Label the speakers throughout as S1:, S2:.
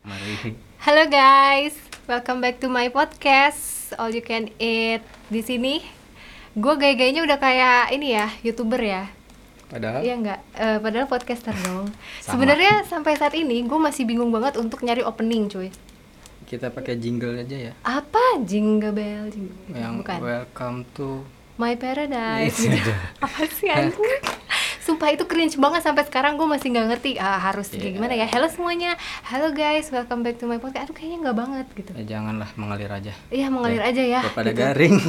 S1: Mari.
S2: Halo guys, welcome back to my podcast All You Can Eat. Di sini gue gaya-gayanya udah kayak ini ya, YouTuber ya.
S1: Padahal
S2: Iya nggak? Eh, padahal podcaster dong.
S1: Sama.
S2: Sebenarnya sampai saat ini gue masih bingung banget untuk nyari opening, cuy.
S1: kita pakai jingle aja ya.
S2: Apa jingle bell? Jingle bell.
S1: Yang
S2: Bukan.
S1: welcome to
S2: My Paradise
S1: Iya,
S2: gitu. Apa sih anjing? Sumpah itu cringe banget sampai sekarang gue masih nggak ngerti ah, harus kayak
S1: Iya.
S2: gimana ya. Halo semuanya, halo guys, welcome back to my podcast. Aduh kayaknya nggak banget gitu.
S1: eh, janganlah mengalir aja.
S2: Iya mengalir aja ya.
S1: Daripada
S2: gitu.
S1: garing.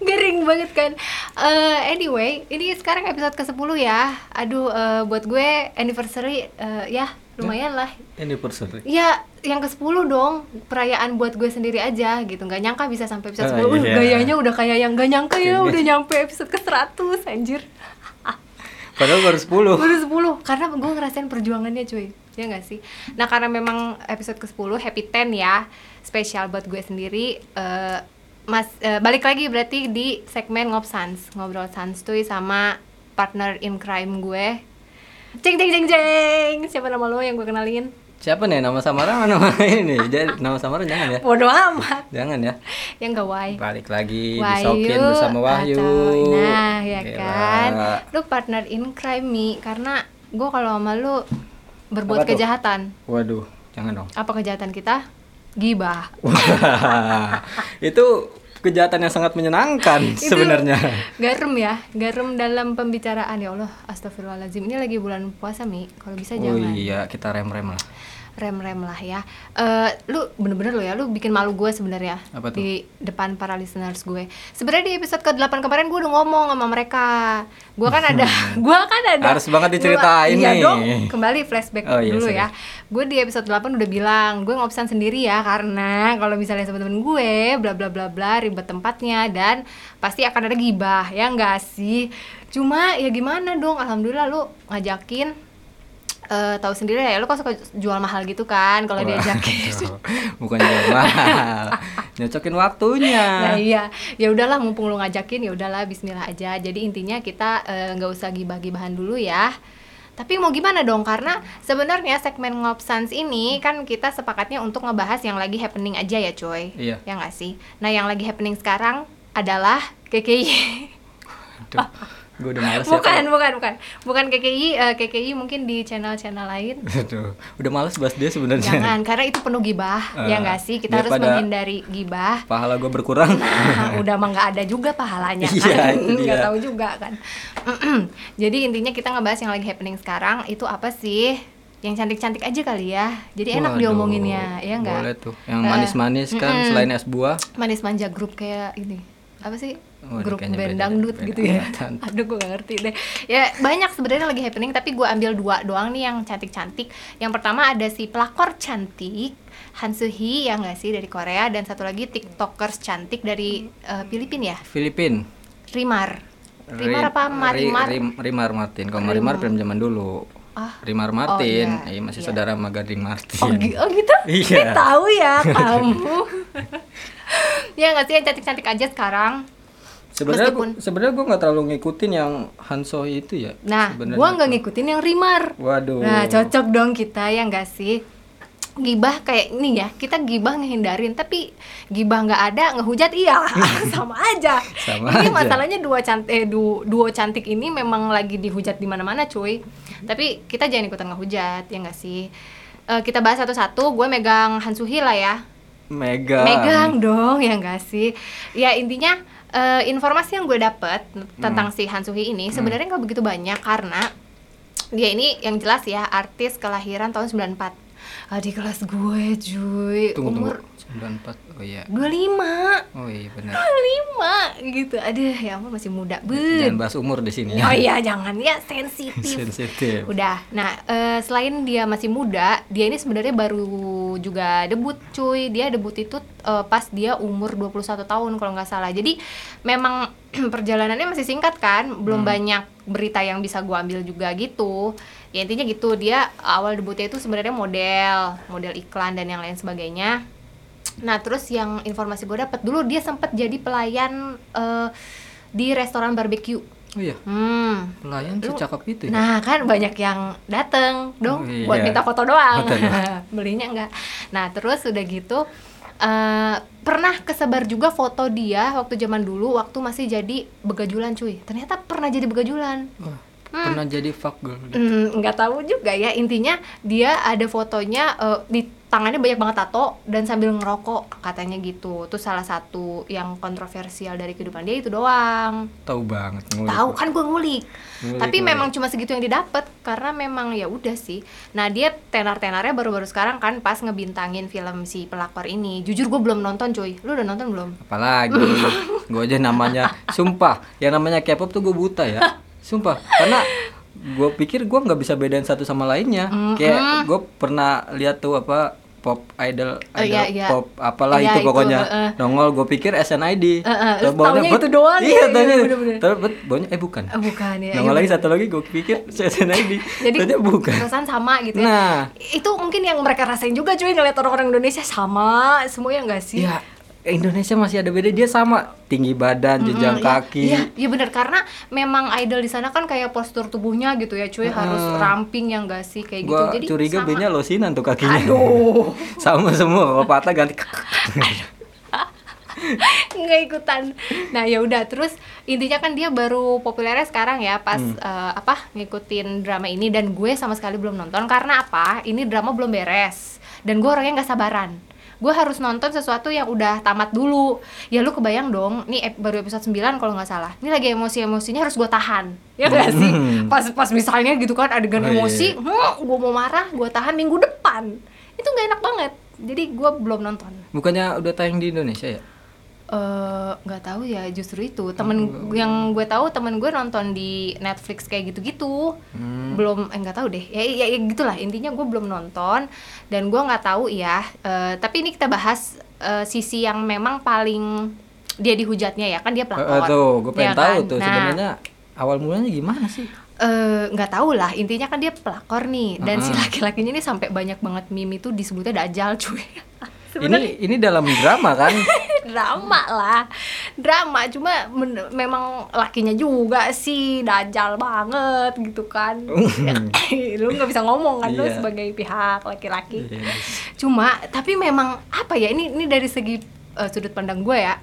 S2: Garing banget kan. Eh, anyway, ini sekarang episode ke 10 ya. Aduh eh, buat gue anniversary eh, ya lumayan lah.
S1: Anniversary.
S2: Ya yang ke 10 dong perayaan buat gue sendiri aja gitu. Nggak nyangka bisa sampai episode
S1: Ah,
S2: 10. Uh,
S1: iya.
S2: Gayanya udah kayak yang nggak nyangka ya
S1: Kayaknya.
S2: udah nyampe episode ke 100 anjir.
S1: Padahal baru 10.
S2: Baru 10 karena gue ngerasain perjuangannya cuy ya nggak sih nah karena memang episode ke 10 happy 10 ya spesial buat gue sendiri eh, mas eh, balik lagi berarti di segmen ngob sans ngobrol santuy sama partner in crime gue ceng ceng ceng ceng siapa nama lo yang gue kenalin
S1: Siapa nih nama samaran mana nama ini? Jadi nama samaran jangan ya.
S2: bodoh amat
S1: Jangan ya.
S2: yang gawai
S1: Balik lagi di Sokin bersama Wahyu.
S2: Eh.
S1: Iya.
S2: atau- nah ya
S1: Gila.
S2: kan lu partner in crime mi karena gue kalau sama lu
S1: Apa
S2: berbuat
S1: tuh?
S2: kejahatan
S1: Waduh, jangan dong.
S2: apa kejahatan kita gibah
S1: Wah, itu kejahatan yang sangat menyenangkan
S2: Itu
S1: sebenarnya.
S2: garam ya garam dalam pembicaraan ya Allah astagfirullahaladzim ini lagi bulan puasa mi kalau bisa
S1: Oh
S2: jangan
S1: iya, kita rem-rem lah.
S2: rem rem lah ya Eh, lu bener-bener lo ya lu bikin malu gue sebenarnya
S1: Apa tuh?
S2: di depan para listeners gue sebenarnya di episode ke 8 kemarin gue udah ngomong sama mereka gue kan ada gue kan ada
S1: Harus banget diceritain
S2: Gua- iya
S1: nih.
S2: dong kembali flashback
S1: Oh, iya,
S2: dulu
S1: sorry.
S2: ya gue di episode 8 udah bilang gue ngopsan sendiri ya karena kalau misalnya sama temen gue bla bla bla bla ribet tempatnya dan pasti akan ada gibah ya enggak sih cuma ya gimana dong alhamdulillah lu ngajakin eh tahu sendiri ya lu kok suka jual mahal gitu kan kalau
S1: Wah, gitu.
S2: diajakin
S1: Bukan jual Nyocokin waktunya.
S2: Nah, iya, ya udahlah mumpung lu ngajakin ya udahlah bismillah aja. Jadi intinya kita eh, nggak usah gibah-gibahan dulu ya. Tapi mau gimana dong karena sebenarnya segmen ngopsans ini kan kita sepakatnya untuk ngebahas yang lagi happening aja ya, coy.
S1: Iya.
S2: Ya nggak sih? Nah, yang lagi happening sekarang adalah KKI.
S1: Aduh, gue udah males
S2: bukan,
S1: ya.
S2: bukan, bukan. Bukan KKI, eh, KKI mungkin di channel-channel lain.
S1: Aduh, udah males bahas dia sebenarnya.
S2: Jangan, karena itu penuh gibah,
S1: Eh,
S2: ya nggak sih? Kita harus
S1: daripada-
S2: menghindari gibah.
S1: Pahala gue berkurang.
S2: Nah, udah mah nggak ada juga pahalanya
S1: Iya,
S2: kan
S1: itu dia.
S2: nggak tahu juga kan jadi intinya kita ngebahas yang lagi happening sekarang itu apa sih yang cantik-cantik aja kali ya jadi enak
S1: Waduh,
S2: diomonginnya ya nggak
S1: Boleh tuh. Yang
S2: Eh,
S1: manis-manis kan
S2: mm-mm.
S1: selain es buah.
S2: manis manja grup kayak ini apa sih
S1: Waduh,
S2: grup
S1: Oh, kayaknya
S2: band
S1: beda deh,
S2: dangdut
S1: beda
S2: gitu ya
S1: angkatan.
S2: aduh gue gak ngerti deh ya banyak sebenarnya lagi happening tapi gue ambil dua doang nih yang cantik cantik yang pertama ada si pelakor cantik Han Soo Hee ya nggak sih dari Korea dan satu lagi tiktokers cantik dari eh, Filipina ya
S1: Filipin.
S2: Rimar
S1: Ri-
S2: Rimar apa
S1: Ri-
S2: Marimar
S1: Rim- Rimar Martin. Kalau Marimar film zaman dulu.
S2: Ah.
S1: Rimar Martin,
S2: Oh, iya.
S1: Iya, masih
S2: Iya.
S1: saudara sama Gading Martin.
S2: Oh, gi- oh gitu?
S1: Iya.
S2: Eh, tahu ya kamu. ya nggak sih yang cantik-cantik aja sekarang.
S1: Sebenarnya
S2: Meskipun-
S1: gua- sebenarnya gue nggak terlalu ngikutin yang Hanso itu ya.
S2: Nah,
S1: sebenarnya.
S2: gua nggak ngikutin yang Rimar.
S1: Waduh.
S2: Nah, cocok dong kita ya nggak sih? Gibah kayak ini ya, kita gibah ngehindarin, tapi gibah nggak ada, ngehujat iya, sama aja.
S1: Sama
S2: ini
S1: aja.
S2: masalahnya dua cantik, eh, du- duo cantik ini memang lagi dihujat di mana-mana, cuy. Tapi kita jangan ikutan ngehujat, ya nggak sih? Eh, kita bahas satu-satu, gue megang Hansuhi lah ya
S1: Megang.
S2: megang dong ya nggak sih ya intinya eh, informasi yang gue dapet
S1: Hmm.
S2: tentang si Han Suhi ini sebenarnya nggak begitu banyak karena dia ini yang jelas ya artis kelahiran tahun 94 Ah, di kelas gue cuy
S1: Tunggu
S2: umur
S1: tunggu. 94. Oh iya.
S2: 25
S1: Oh iya benar.
S2: 25 gitu aduh ya ampun masih muda
S1: Jangan
S2: ben
S1: bahas umur di sini
S2: Hmm. oh
S1: ya.
S2: iya jangan ya sensitif
S1: Sensitif.
S2: Udah. Nah, eh, selain dia masih muda, dia ini sebenarnya baru juga debut, cuy. Dia debut itu eh, pas dia umur 21 tahun kalau nggak salah. Jadi memang perjalanannya masih singkat kan, belum banyak berita yang bisa gua ambil juga gitu. Ya intinya gitu, dia awal debutnya itu sebenarnya model, model iklan dan yang lain sebagainya. Nah, terus yang informasi gue dapet dulu dia sempat jadi pelayan eh, di restoran barbeque
S1: Oh iya,
S2: Hmm.
S1: pelayan
S2: Lu-
S1: secakap itu ya?
S2: Nah kan banyak yang dateng dong
S1: Oh,
S2: buat
S1: iya.
S2: minta foto doang,
S1: Betul.
S2: belinya enggak. Nah terus udah gitu eh, pernah kesebar juga foto dia waktu zaman dulu waktu masih jadi begajulan cuy. Ternyata pernah jadi begajulan.
S1: Wah, pernah jadi fuck girl.
S2: Hmm, nggak tahu juga ya intinya dia ada fotonya eh, di tangannya banyak banget tato dan sambil ngerokok katanya gitu. Itu salah satu yang kontroversial dari kehidupan dia itu doang
S1: Tahu banget ngulik.
S2: tahu kan gue ngulik.
S1: Ngulik,
S2: tapi
S1: ngulik.
S2: memang cuma segitu yang didapat karena memang ya udah sih nah dia tenar tenarnya baru baru sekarang kan pas ngebintangin film si pelakor ini jujur gue belum nonton cuy lu udah nonton belum
S1: Apalagi gue aja namanya sumpah, yang namanya K-pop tuh gue buta ya. Sumpah, karena gue pikir gue nggak bisa bedain satu sama lainnya. Kayak gue pernah lihat tuh apa pop idol, idol
S2: Oh, iya, iya.
S1: pop apalah
S2: Iya,
S1: itu
S2: itu,
S1: pokoknya
S2: heeh.
S1: nongol gue pikir SNSD
S2: Eh, eh,
S1: Terus
S2: terus
S1: bawahnya,
S2: taunya
S1: "Bot-
S2: itu doang
S1: iya
S2: ya, iya,
S1: taunya
S2: bener-bener.
S1: terus bot- bawahnya eh bukan
S2: Eh, bukan ya
S1: nongol
S2: ya
S1: lagi
S2: bener.
S1: satu lagi gue pikir SNSD
S2: jadi
S1: ternyata bukan
S2: perasaan sama gitu ya
S1: nah
S2: itu mungkin yang mereka rasain juga cuy ngeliat orang-orang Indonesia sama semuanya nggak sih Iya.
S1: ya Indonesia masih ada beda dia sama tinggi badan jenjang
S2: Mm,
S1: kaki
S2: Iya, iya benar karena memang idol di sana kan kayak postur tubuhnya gitu ya cuy harus ramping yang enggak sih kayak gitu.
S1: Gua
S2: Jadi
S1: curiga
S2: sama.
S1: B-nya losinan tuh kakinya.
S2: Aduh,
S1: Sama semua kalau patah ganti.
S2: nggak ikutan. Nah, ya udah terus intinya kan dia baru populernya sekarang ya pas
S1: Hmm.
S2: eh, apa ngikutin drama ini dan gue sama sekali belum nonton karena apa? Ini drama belum beres dan gue orangnya nggak sabaran. Gue harus nonton sesuatu yang udah tamat dulu. Ya lu kebayang dong, nih ep- baru episode 9 kalau nggak salah. Ini lagi emosi-emosinya harus gue tahan. Ya nggak sih? Pas pas misalnya gitu kan adegan
S1: Hmm. Oh, iya,
S2: emosi, hmm, gue mau marah, gue tahan minggu depan. Itu nggak enak banget. Jadi gue belum nonton.
S1: Bukannya udah tayang di Indonesia ya?
S2: Eh, nggak tahu ya justru itu temen yang gue tahu temen gue nonton di Netflix kayak gitu-gitu
S1: Hmm.
S2: belum eh, nggak tahu deh ya, ya, ya gitulah intinya gue belum nonton dan gue nggak tahu ya Eh, tapi ini kita bahas eh, sisi yang memang paling dia dihujatnya ya kan dia
S1: Eh, eh,
S2: pelakor
S1: tuh, gue pengen
S2: ya
S1: tahu
S2: kan?
S1: tuh
S2: Nah,
S1: sebenarnya awal mulanya gimana sih?
S2: eh, nggak tahu lah intinya kan dia pelakor nih dan si
S1: Mm-mm.
S2: laki-lakinya ini sampai banyak banget meme itu disebutnya dajal cuy
S1: Ini ini dalam drama kan?
S2: drama lah drama cuma men- memang lakinya juga sih dajal banget gitu kan lu nggak bisa ngomong kan lu
S1: Hmm. Iya.
S2: sebagai pihak laki-laki
S1: Iya.
S2: cuma tapi memang apa ya ini ini dari segi eh, sudut pandang gue ya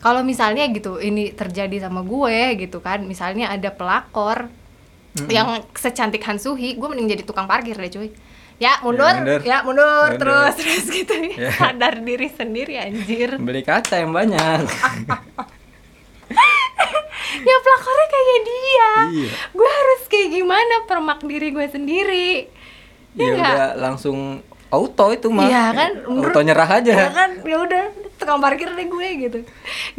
S2: kalau misalnya gitu ini terjadi sama gue gitu kan misalnya ada pelakor
S1: Hmm.
S2: yang secantik Hansuhi gue mending jadi tukang parkir deh cuy ya mundur ya
S1: mundur.
S2: mundur,
S1: Mundur.
S2: terus terus gitu
S1: Ya.
S2: sadar diri sendiri anjir
S1: Beli kaca yang banyak.
S2: Ah, ya pelakornya kayak dia
S1: Iya.
S2: gue harus kayak gimana permak diri gue sendiri
S1: ya
S2: iya nggak?
S1: udah langsung auto itu mah.
S2: Iya kan, menurut-
S1: Auto nyerah aja.
S2: ya kan ya udah tukang parkir deh gue gitu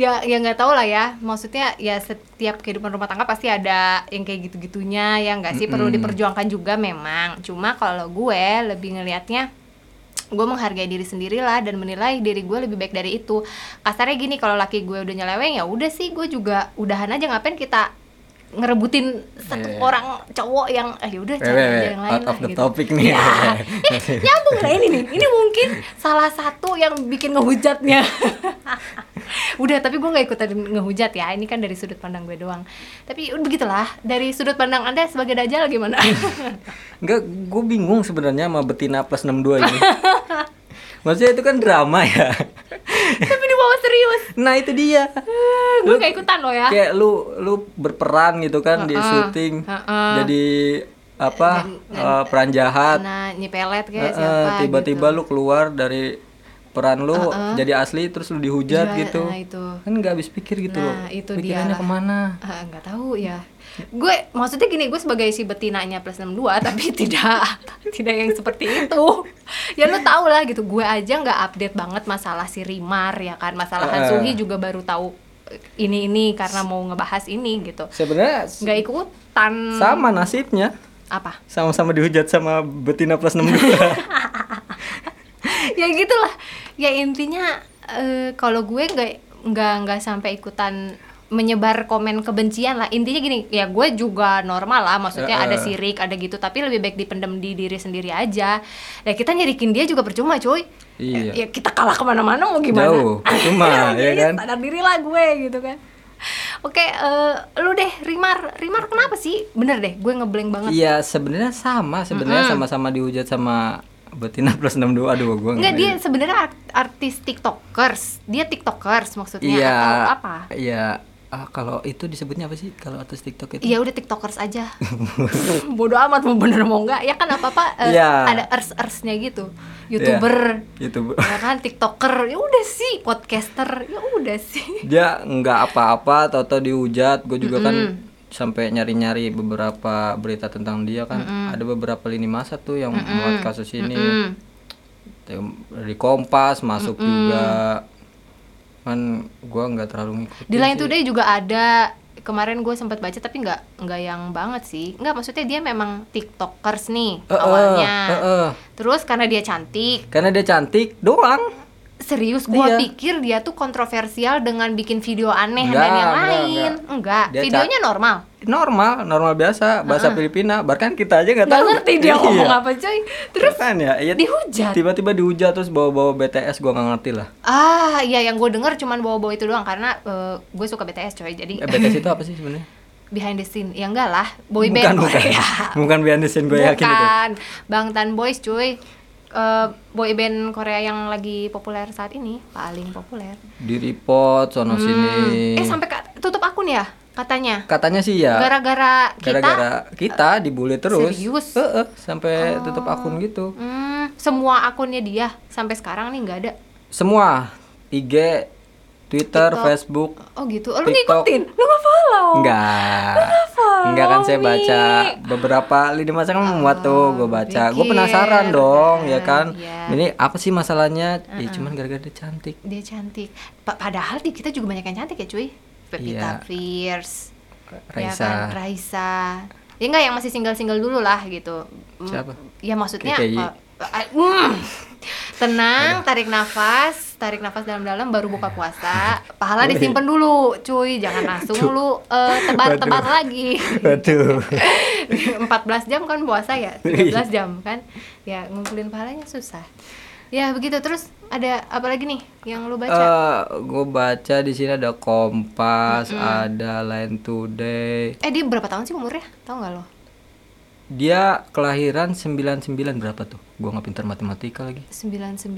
S2: ya ya nggak tahu lah ya maksudnya ya setiap kehidupan rumah tangga pasti ada yang kayak gitu gitunya ya nggak sih perlu diperjuangkan juga memang cuma kalau gue lebih ngelihatnya gue menghargai diri sendiri lah dan menilai diri gue lebih baik dari itu kasarnya gini kalau laki gue udah nyeleweng ya udah sih gue juga udahan aja ngapain kita ngerebutin satu
S1: Iya.
S2: orang cowok yang eh
S1: Weh,
S2: yaudah cari
S1: weh,
S2: aja
S1: weh,
S2: yang lain
S1: out
S2: lah
S1: of the
S2: gitu
S1: topic nih.
S2: eh, nyambung lah ini nih ini mungkin salah satu yang bikin ngehujatnya udah tapi gue nggak ikutan ngehujat ya ini kan dari sudut pandang gue doang tapi udah begitulah dari sudut pandang anda sebagai dajal gimana
S1: Enggak, gue bingung sebenarnya sama betina plus 62 ini. Maksudnya itu kan drama ya.
S2: tapi dibawa serius
S1: Nah itu dia.
S2: Eh,
S1: Lu-
S2: gue nggak ikutan lo ya
S1: kayak lu lu berperan gitu kan di
S2: Heeh,
S1: syuting
S2: heeh.
S1: jadi apa
S2: Dan-
S1: eh, peran jahat
S2: nah nyipelet
S1: Heeh,
S2: kayak siapa gitu.
S1: tiba-tiba lu keluar dari peran lu jadi asli terus lu dihujat
S2: Iya,
S1: gitu
S2: nah, itu.
S1: kan nggak habis pikir gitu
S2: Nah,
S1: loh
S2: itu
S1: pikirannya
S2: dialah.
S1: kemana
S2: Ah, nggak tahu ya gue maksudnya gini gue sebagai si betinanya plus 62 tapi tidak tidak yang seperti itu ya lu tau lah gitu gue aja nggak update banget masalah si Rimar ya kan masalah
S1: Eh.
S2: Hansuhi juga baru tahu eh, ini ini karena mau ngebahas ini gitu
S1: sebenarnya s-
S2: nggak ikutan
S1: sama nasibnya
S2: apa
S1: sama-sama dihujat sama betina plus 62
S2: ya gitulah ya intinya eh, kalau gue nggak nggak nggak sampai ikutan menyebar komen kebencian lah intinya gini ya gue juga normal lah
S1: Eh,
S2: maksudnya
S1: eh.
S2: ada sirik ada gitu tapi lebih baik dipendam di diri sendiri aja ya kita nyirikin dia juga percuma cuy
S1: Iya.
S2: ya, ya kita kalah kemana-mana mau gimana
S1: Jauh, percuma, ya
S2: Jadi
S1: kan?
S2: sadar diri lah gue gitu kan Oke, eh, lu deh Rimar, Rimar kenapa sih? Bener deh, gue ngeblank banget.
S1: Iya sebenarnya sama sebenarnya sama-sama dihujat sama betina plus 62 aduh gua
S2: Enggak, dia
S1: ngerti.
S2: sebenarnya art- artis TikTokers. Dia TikTokers maksudnya
S1: Iya.
S2: atau apa?
S1: Iya. Ah, kalau itu disebutnya apa sih kalau atas TikTok itu?
S2: Iya udah TikTokers aja. Bodoh amat mau bener mau enggak. Ya kan apa-apa eh,
S1: Iya.
S2: ada ers-ersnya gitu. YouTuber.
S1: Itu
S2: Ya kan TikToker. Ya udah sih, podcaster. Ya udah sih.
S1: dia nggak apa-apa tau-tau dihujat gue juga kan
S2: Mm-mm.
S1: sampai nyari-nyari beberapa berita tentang dia kan ada beberapa lini masa tuh yang muat kasus ini
S2: Mm.
S1: Tem- dari Kompas masuk juga kan gua nggak terlalu ngikutin
S2: Di
S1: Iya
S2: lain
S1: sih.
S2: Today juga ada kemarin gue sempat baca tapi nggak nggak yang banget sih nggak maksudnya dia memang tiktokers nih
S1: Eh, eh,
S2: awalnya
S1: eh, eh.
S2: terus karena dia cantik
S1: karena dia cantik doang
S2: serius gue
S1: Iya.
S2: pikir dia tuh kontroversial dengan bikin video aneh
S1: Enggak,
S2: dan yang
S1: enggak,
S2: lain
S1: enggak.
S2: enggak,
S1: Dia ca-
S2: videonya normal
S1: normal normal biasa bahasa Filipina bahkan kita aja nggak tahu
S2: nggak ngerti dia
S1: Iya.
S2: ngomong apa coy terus
S1: kan ya iya.
S2: dihujat.
S1: tiba-tiba dihujat terus bawa-bawa BTS gua nggak ngerti lah
S2: ah iya yang gue denger cuman bawa-bawa itu doang karena gue suka BTS coy jadi
S1: eh, BTS itu apa sih sebenarnya
S2: behind the scene ya enggak lah boy
S1: bukan
S2: band
S1: bukan
S2: Korea.
S1: bukan behind the scene gue yakin itu
S2: bukan Bangtan Boys cuy Eh, boy band Korea yang lagi populer saat ini paling populer
S1: di report sono sini
S2: Hmm. eh sampai ka- tutup akun ya katanya
S1: katanya sih ya
S2: gara-gara kita
S1: gara-gara kita dibully terus
S2: serius?
S1: Heeh, sampai tutup akun gitu
S2: Hmm, semua akunnya dia sampai sekarang nih nggak ada.
S1: semua IG Twitter
S2: TikTok.
S1: Facebook
S2: Oh gitu. Oh, lu
S1: TikTok.
S2: ngikutin? Lu nggak follow?
S1: Enggak. Enggak kan saya baca beberapa lini masa kan memuat tuh gue baca. Gue
S2: pikir.
S1: penasaran dong ya kan.
S2: Oh, Iya.
S1: Ini apa sih masalahnya? Ya cuman gara-gara dia cantik.
S2: Dia cantik. Pa- padahal di kita juga banyak yang cantik ya cuy. Pevita
S1: Iya.
S2: Pierce, ya kan?
S1: Raisa.
S2: Raisa. Ya enggak yang masih single-single dulu lah gitu. Mm,
S1: Siapa?
S2: Ya maksudnya.
S1: KKI.
S2: uh, uh, mm. Tenang, tarik nafas, tarik nafas dalam-dalam baru buka puasa. Pahala disimpan dulu, cuy. Jangan langsung lu uh, tebar-tebar
S1: Waduh.
S2: lagi.
S1: Waduh.
S2: 14 jam kan puasa ya 13 jam kan ya ngumpulin pahalanya susah ya begitu terus ada apa lagi nih yang lu baca
S1: Eh, gue baca di sini ada Kompas, ada Line Today.
S2: eh dia berapa tahun sih umurnya tau nggak lo
S1: Dia kelahiran 99 berapa tuh? Gue nggak pintar matematika lagi.
S2: 99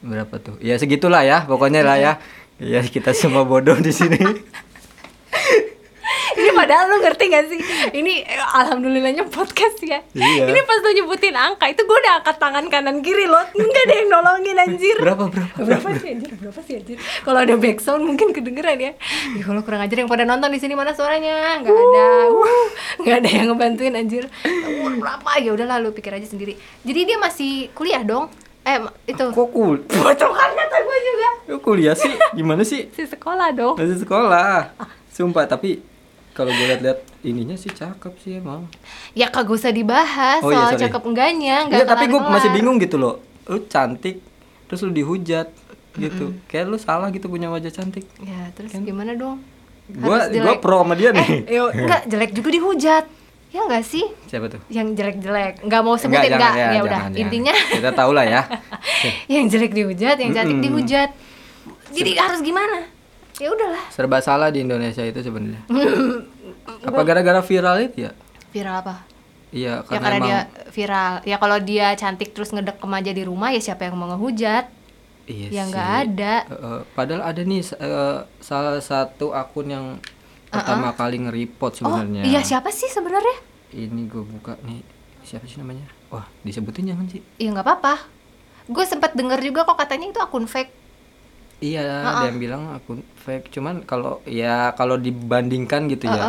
S1: Berapa tuh? Ya segitulah ya, pokoknya lah ya. Ya kita semua bodoh di sini.
S2: ini padahal lu ngerti gak sih ini eh, alhamdulillahnya podcast ya
S1: Iya.
S2: ini pas lu nyebutin angka itu gue udah angkat tangan kanan kiri lo nggak ada yang nolongin anjir
S1: Berapa, berapa,
S2: berapa sih anjir berapa sih anjir kalau ada backsound mungkin kedengeran ya ya kalau kurang ajar yang pada nonton di sini mana suaranya nggak ada Wuh, nggak ada yang ngebantuin anjir Wuh, berapa ya udah lalu pikir aja sendiri jadi dia masih kuliah dong eh ma- itu
S1: Kok kul-
S2: bocor kan kata gue juga
S1: Lu kuliah sih? Gimana sih?
S2: si sekolah dong
S1: Masih sekolah. Sumpah, tapi kalau gue lihat-lihat ininya sih cakep sih emang.
S2: ya kagak usah dibahas
S1: Oh, iya,
S2: soal
S1: sorry.
S2: cakep enggaknya Eh, nggak
S1: Iya, tapi gue
S2: kelar-kelar.
S1: masih bingung gitu loh. Lu cantik, terus lu dihujat gitu. Kayak lu salah gitu punya wajah cantik.
S2: ya terus gimana dong
S1: Gua
S2: Harus
S1: gua
S2: jelek.
S1: pro sama dia
S2: eh
S1: nih.
S2: yo enggak jelek juga dihujat ya enggak sih
S1: Siapa tuh?
S2: yang jelek-jelek nggak mau
S1: jangan,
S2: sebutin nggak
S1: ya,
S2: ya
S1: jangan,
S2: udah
S1: jangan.
S2: intinya
S1: Kita tahu lah ya.
S2: yang jelek dihujat yang cantik
S1: Mm-mm.
S2: dihujat jadi harus gimana ya udahlah
S1: Serba salah di Indonesia itu sebenarnya. Apa gara-gara viral itu ya?
S2: viral apa
S1: Iya,
S2: ya
S1: karena,
S2: karena
S1: emang
S2: dia viral ya kalau dia cantik terus ngedekem aja di rumah ya siapa yang mau ngehujat
S1: Iya
S2: Ya,
S1: sih.
S2: nggak ada.
S1: Eh, padahal ada nih eh, salah satu akun yang pertama kali nge-report sebenarnya.
S2: Ah, oh iya siapa sih sebenarnya
S1: Ini gue buka nih siapa sih namanya? Wah disebutin jangan sih?
S2: ya nggak apa-apa gue sempat denger juga kok katanya itu akun fake
S1: Iya,
S2: Ah,
S1: ada yang bilang akun fake. Cuman kalau ya kalau dibandingkan
S2: Ah,
S1: gitu ya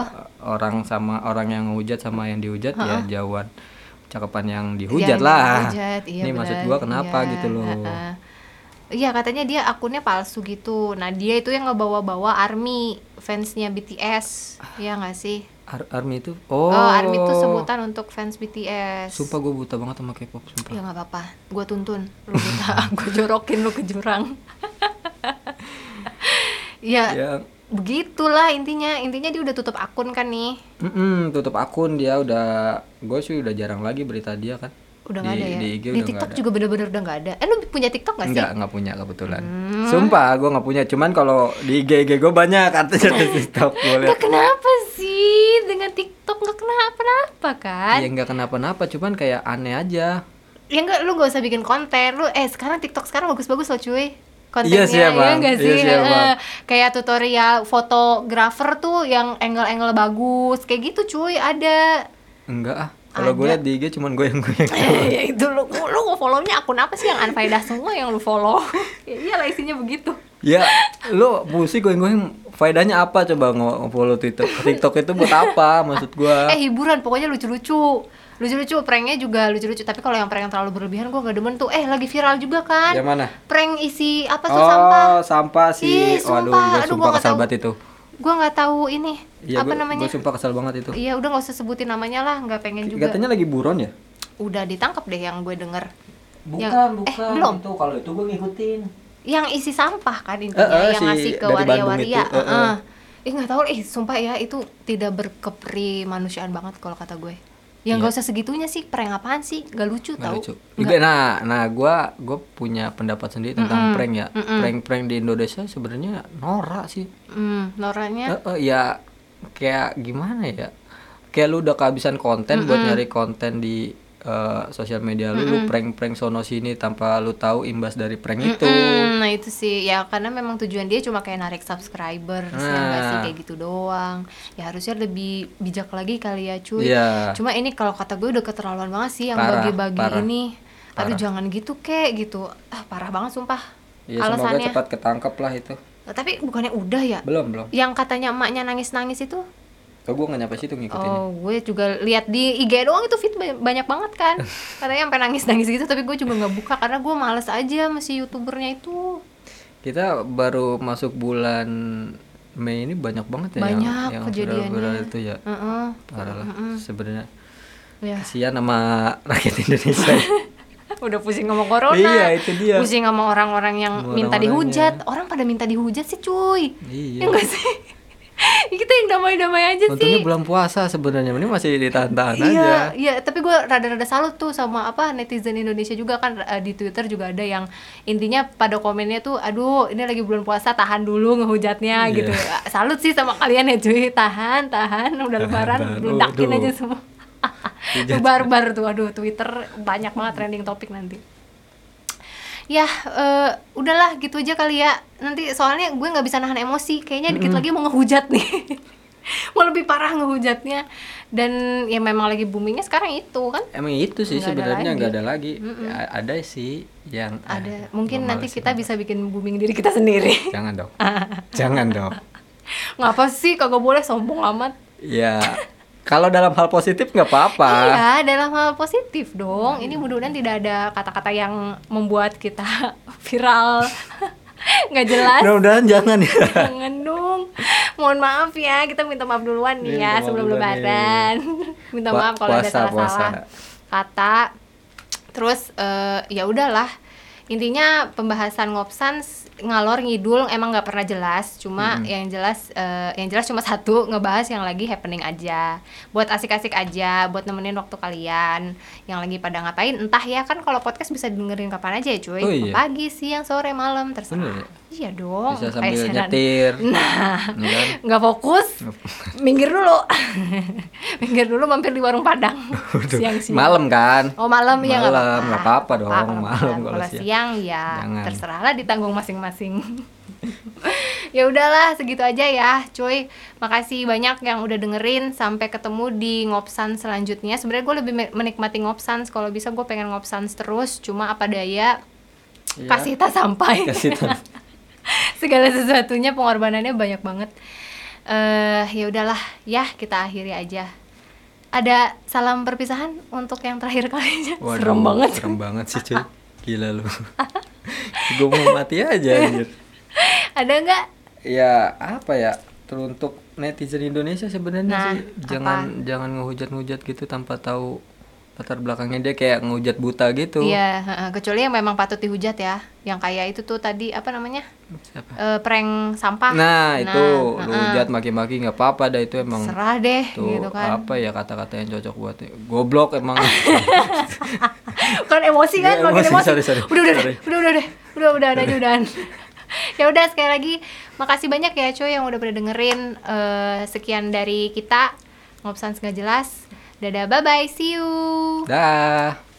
S1: orang sama orang yang ngehujat sama yang dihujat
S2: ah.
S1: ya jauhan cakapan yang dihujat
S2: Jangan
S1: lah.
S2: dihujat, iya
S1: Ini maksud
S2: benar,
S1: gua kenapa
S2: iya,
S1: gitu loh?
S2: heeh. Iya katanya dia akunnya palsu gitu. Nah dia itu yang ngebawa-bawa ARMY fansnya BTS, ya nggak sih?
S1: Ar- Army itu oh,
S2: Oh, ARMY itu sebutan untuk fans BTS.
S1: Sumpah gue buta banget sama K-pop sumpah.
S2: Ya nggak apa-apa, gue tuntun, lu buta, gue jorokin lu ke jurang. ya,
S1: Ya,
S2: begitulah intinya. Intinya dia udah tutup akun kan nih.
S1: Mm-mm, tutup akun dia udah gue sih udah jarang lagi berita dia kan
S2: udah nggak
S1: Di-
S2: ada ya
S1: di
S2: di,
S1: IG udah nggak
S2: TikTok
S1: ada.
S2: juga bener-bener udah nggak ada eh lu punya TikTok nggak sih
S1: Enggak, enggak punya kebetulan.
S2: Hmm.
S1: Sumpah, gue enggak punya. Cuman kalau di IG IG gue banyak artinya di TikTok gue liat.
S2: nggak kenapa sih dengan TikTok nggak kenapa-napa kan
S1: Ya enggak kenapa-napa, cuman kayak aneh aja.
S2: ya nggak lu nggak usah bikin konten lu eh sekarang TikTok sekarang bagus-bagus loh cuy
S1: Iya
S2: kontennya
S1: sih, Bang.
S2: nggak
S1: Iya
S2: sih
S1: sih,
S2: Heeh.
S1: Bang.
S2: kayak tutorial fotografer tuh yang angle-angle bagus kayak gitu cuy ada
S1: Enggak ah. Kalau gue
S2: Ada.
S1: liat di IG cuman gue yang gue yang
S2: Eh, ya itu lu lu mau follow-nya akun apa sih yang anfaedah semua yang lu follow ya iyalah isinya begitu
S1: Ya, lu musik gue yang faedahnya apa coba ngo- nge-follow TikTok? TikTok itu buat apa maksud
S2: eh
S1: gue?
S2: hiburan pokoknya lucu-lucu lucu-lucu pranknya juga lucu-lucu tapi kalau yang prank yang terlalu berlebihan gua nggak demen tuh eh lagi viral juga kan
S1: Yang mana?
S2: prank isi apa tuh
S1: oh,
S2: sampah
S1: sampah sih.
S2: Ih, sumpah.
S1: Waduh, gue
S2: Aduh,
S1: sumpah
S2: gua nggak
S1: kesal
S2: tahu.
S1: banget itu.
S2: gua nggak tahu ini
S1: Iya,
S2: apa
S1: gua-
S2: namanya
S1: Gue sumpah kesal banget itu.
S2: Iya udah nggak usah sebutin namanya lah, nggak pengen juga.
S1: Katanya lagi buron ya?
S2: Udah ditangkap deh yang gue denger.
S1: Bukan,
S2: Yang- eh,
S1: bukan.
S2: belum.
S1: Itu kalau itu gue ngikutin.
S2: Yang isi sampah kan intinya,
S1: Eh, eh,
S2: yang
S1: si
S2: ngasih ke
S1: dari Bandung
S2: waria-waria.
S1: itu, eh, eh.
S2: heeh. Ih nggak tahu, ih sumpah ya itu tidak berkepri manusiaan banget kalau kata gue. Yang nggak usah segitunya sih, prank apaan sih? Gak lucu
S1: Iya. Nggak
S2: tau.
S1: lucu. Juga nah, nah gua gua punya pendapat sendiri tentang prank ya. Prank-prank di Indonesia sebenarnya norak sih.
S2: Hmm,
S1: Eh,
S2: noranya.
S1: eh, ya kayak gimana ya? Kayak lu udah kehabisan konten buat nyari konten di eh, sosial media lu, lu prank-prank sono sini tanpa lu tahu imbas dari prank itu.
S2: Mm-mm, nah itu sih ya karena memang tujuan dia cuma kayak narik subscriber, ya nggak sih
S1: Nah.
S2: kayak gitu doang. Ya harusnya lebih bijak lagi kali ya cuy.
S1: Iya.
S2: Cuma ini kalau kata gue udah keterlaluan banget sih yang
S1: Parah,
S2: bagi-bagi
S1: parah,
S2: ini.
S1: parah.
S2: Aduh jangan gitu kek gitu. Ah parah banget sumpah.
S1: Ya semoga
S2: alasannya.
S1: cepat ketangkep lah itu.
S2: Nah, Tapi bukannya udah ya?
S1: Belum, belum.
S2: Yang katanya emaknya nangis-nangis itu?
S1: Kok gua nggak nyampe situ ngikutin.
S2: Oh, gue juga lihat di IG doang itu fit ba- banyak banget kan. Katanya sampai nangis-nangis gitu tapi gue juga nggak buka karena gue males aja masih YouTubernya itu.
S1: Kita baru masuk bulan Mei ini banyak banget ya yang-
S2: Banyak
S1: yang
S2: kejadiannya.
S1: viral-viral itu ya.
S2: Heeh.
S1: Parah lah sebenarnya.
S2: Ya.
S1: Kasihan sama rakyat Indonesia.
S2: Iya Udah pusing ngomong corona.
S1: Iya, itu dia.
S2: Pusing sama orang-orang yang
S1: Sama
S2: minta
S1: orang-orangnya.
S2: dihujat. Orang pada minta dihujat sih, cuy.
S1: Iya.
S2: Ya enggak sih? Ya, kita yang damai-damai aja
S1: Untungnya
S2: sih.
S1: bulan puasa sebenarnya. Ini masih ditahan-tahan aja.
S2: Iya, iya, tapi gue rada-rada salut tuh sama apa netizen Indonesia juga kan eh, di Twitter juga ada yang intinya pada komennya tuh aduh ini lagi bulan puasa tahan dulu ngehujatnya
S1: Iya.
S2: gitu. Salut sih sama kalian ya cuy, tahan, tahan udah lebaran
S1: tahan.
S2: ludakin
S1: Waduh.
S2: aja semua. Tuh barbar tuh aduh Twitter banyak banget trending topik nanti. Ya, eh, udahlah gitu aja kali ya. Nanti soalnya gue nggak bisa nahan emosi. Kayaknya dikit lagi mau ngehujat nih. mau lebih parah ngehujatnya. Dan ya memang lagi boomingnya sekarang itu kan.
S1: Emang itu sih
S2: Nggak ada
S1: sebenarnya
S2: lagi.
S1: nggak ada lagi. A- Ada sih yang eh,
S2: Ada mungkin
S1: gua
S2: nanti
S1: males
S2: kita
S1: ya.
S2: bisa bikin booming diri kita sendiri.
S1: Jangan dong. Jangan dong.
S2: Ngapa sih kagak boleh sombong amat?
S1: Ya kalau dalam hal positif nggak apa-apa.
S2: Iya, dalam hal positif dong. Ini mudah-mudahan tidak ada kata-kata yang membuat kita viral. nggak jelas.
S1: Mudah-mudahan jangan ya.
S2: Jangan dong. Mohon maaf ya, kita minta maaf duluan
S1: Iya,
S2: nih ya
S1: minta maaf
S2: sebelum
S1: duluan
S2: lebaran. minta
S1: Pua-
S2: maaf kalau ada
S1: puasa,
S2: salah-salah
S1: puasa.
S2: kata. Terus eh, ya udahlah. Intinya pembahasan ngopsan s- ngalor ngidul emang nggak pernah jelas. Cuma yang jelas eh, yang jelas cuma satu ngebahas yang lagi happening aja. Buat asik-asik aja, buat nemenin waktu kalian yang lagi pada ngapain. Entah ya kan kalau podcast bisa dengerin kapan aja ya cuy.
S1: Oh, iya.
S2: Pagi, siang, sore, malam terserah.
S1: Bener ya?
S2: Iya dong.
S1: Bisa
S2: kayak
S1: sambil
S2: siaran.
S1: nyetir.
S2: Nah,
S1: Ya kan?
S2: nggak fokus, minggir dulu, minggir dulu mampir di warung Padang siang-siang.
S1: Malam kan?
S2: Oh malam, ya nggak
S1: Malam, nggak apa-apa dong,
S2: Nggak apa-apa.
S1: malam kalau siang.
S2: siang ya
S1: Jangan.
S2: terserahlah ditanggung masing-masing. ya udahlah segitu aja ya, cuy. Makasih banyak yang udah dengerin. Sampai ketemu di ngopsan selanjutnya. Sebenarnya gue lebih me- menikmati ngopsan. Kalau bisa gue pengen ngopsan terus. Cuma apa daya.
S1: Iya.
S2: Kasih tak sampai
S1: Kasih tahu.
S2: segala sesuatunya pengorbanannya banyak banget eh ya udahlah ya kita akhiri aja ada salam perpisahan untuk yang terakhir kalinya
S1: Waduh,
S2: serem banget
S1: Serem banget sih cuy. Gila lu. Gue mau mati aja anjir.
S2: ada nggak
S1: ya apa ya teruntuk netizen Indonesia sebenarnya
S2: Nah,
S1: sih jangan jangan ngehujat-ngehujat gitu tanpa tahu latar belakangnya dia kayak ngehujat buta gitu
S2: Iya, heeh, kecuali yang memang patut dihujat ya. Yang kayak itu tuh tadi apa namanya?
S1: Siapa?
S2: Eh, prank sampah.
S1: nah itu
S2: heeh.
S1: lu hujat maki-maki nggak apa-apa dah itu emang
S2: serah deh
S1: tuh
S2: ah, gitu kan.
S1: apa ya kata-kata yang cocok buat goblok emang
S2: kan emosi kan,
S1: Iya,
S2: makin
S1: emosi,
S2: emosi.
S1: sorry, sorry.
S2: Udah, udah,
S1: Sorry.
S2: udah, udah, udah, udah, udah, udah, udah, udahan. ya udah sekali lagi makasih banyak ya cuy yang udah pada dengerin Eh, sekian dari kita ngobsan nggak jelas dadah bye bye see you
S1: dah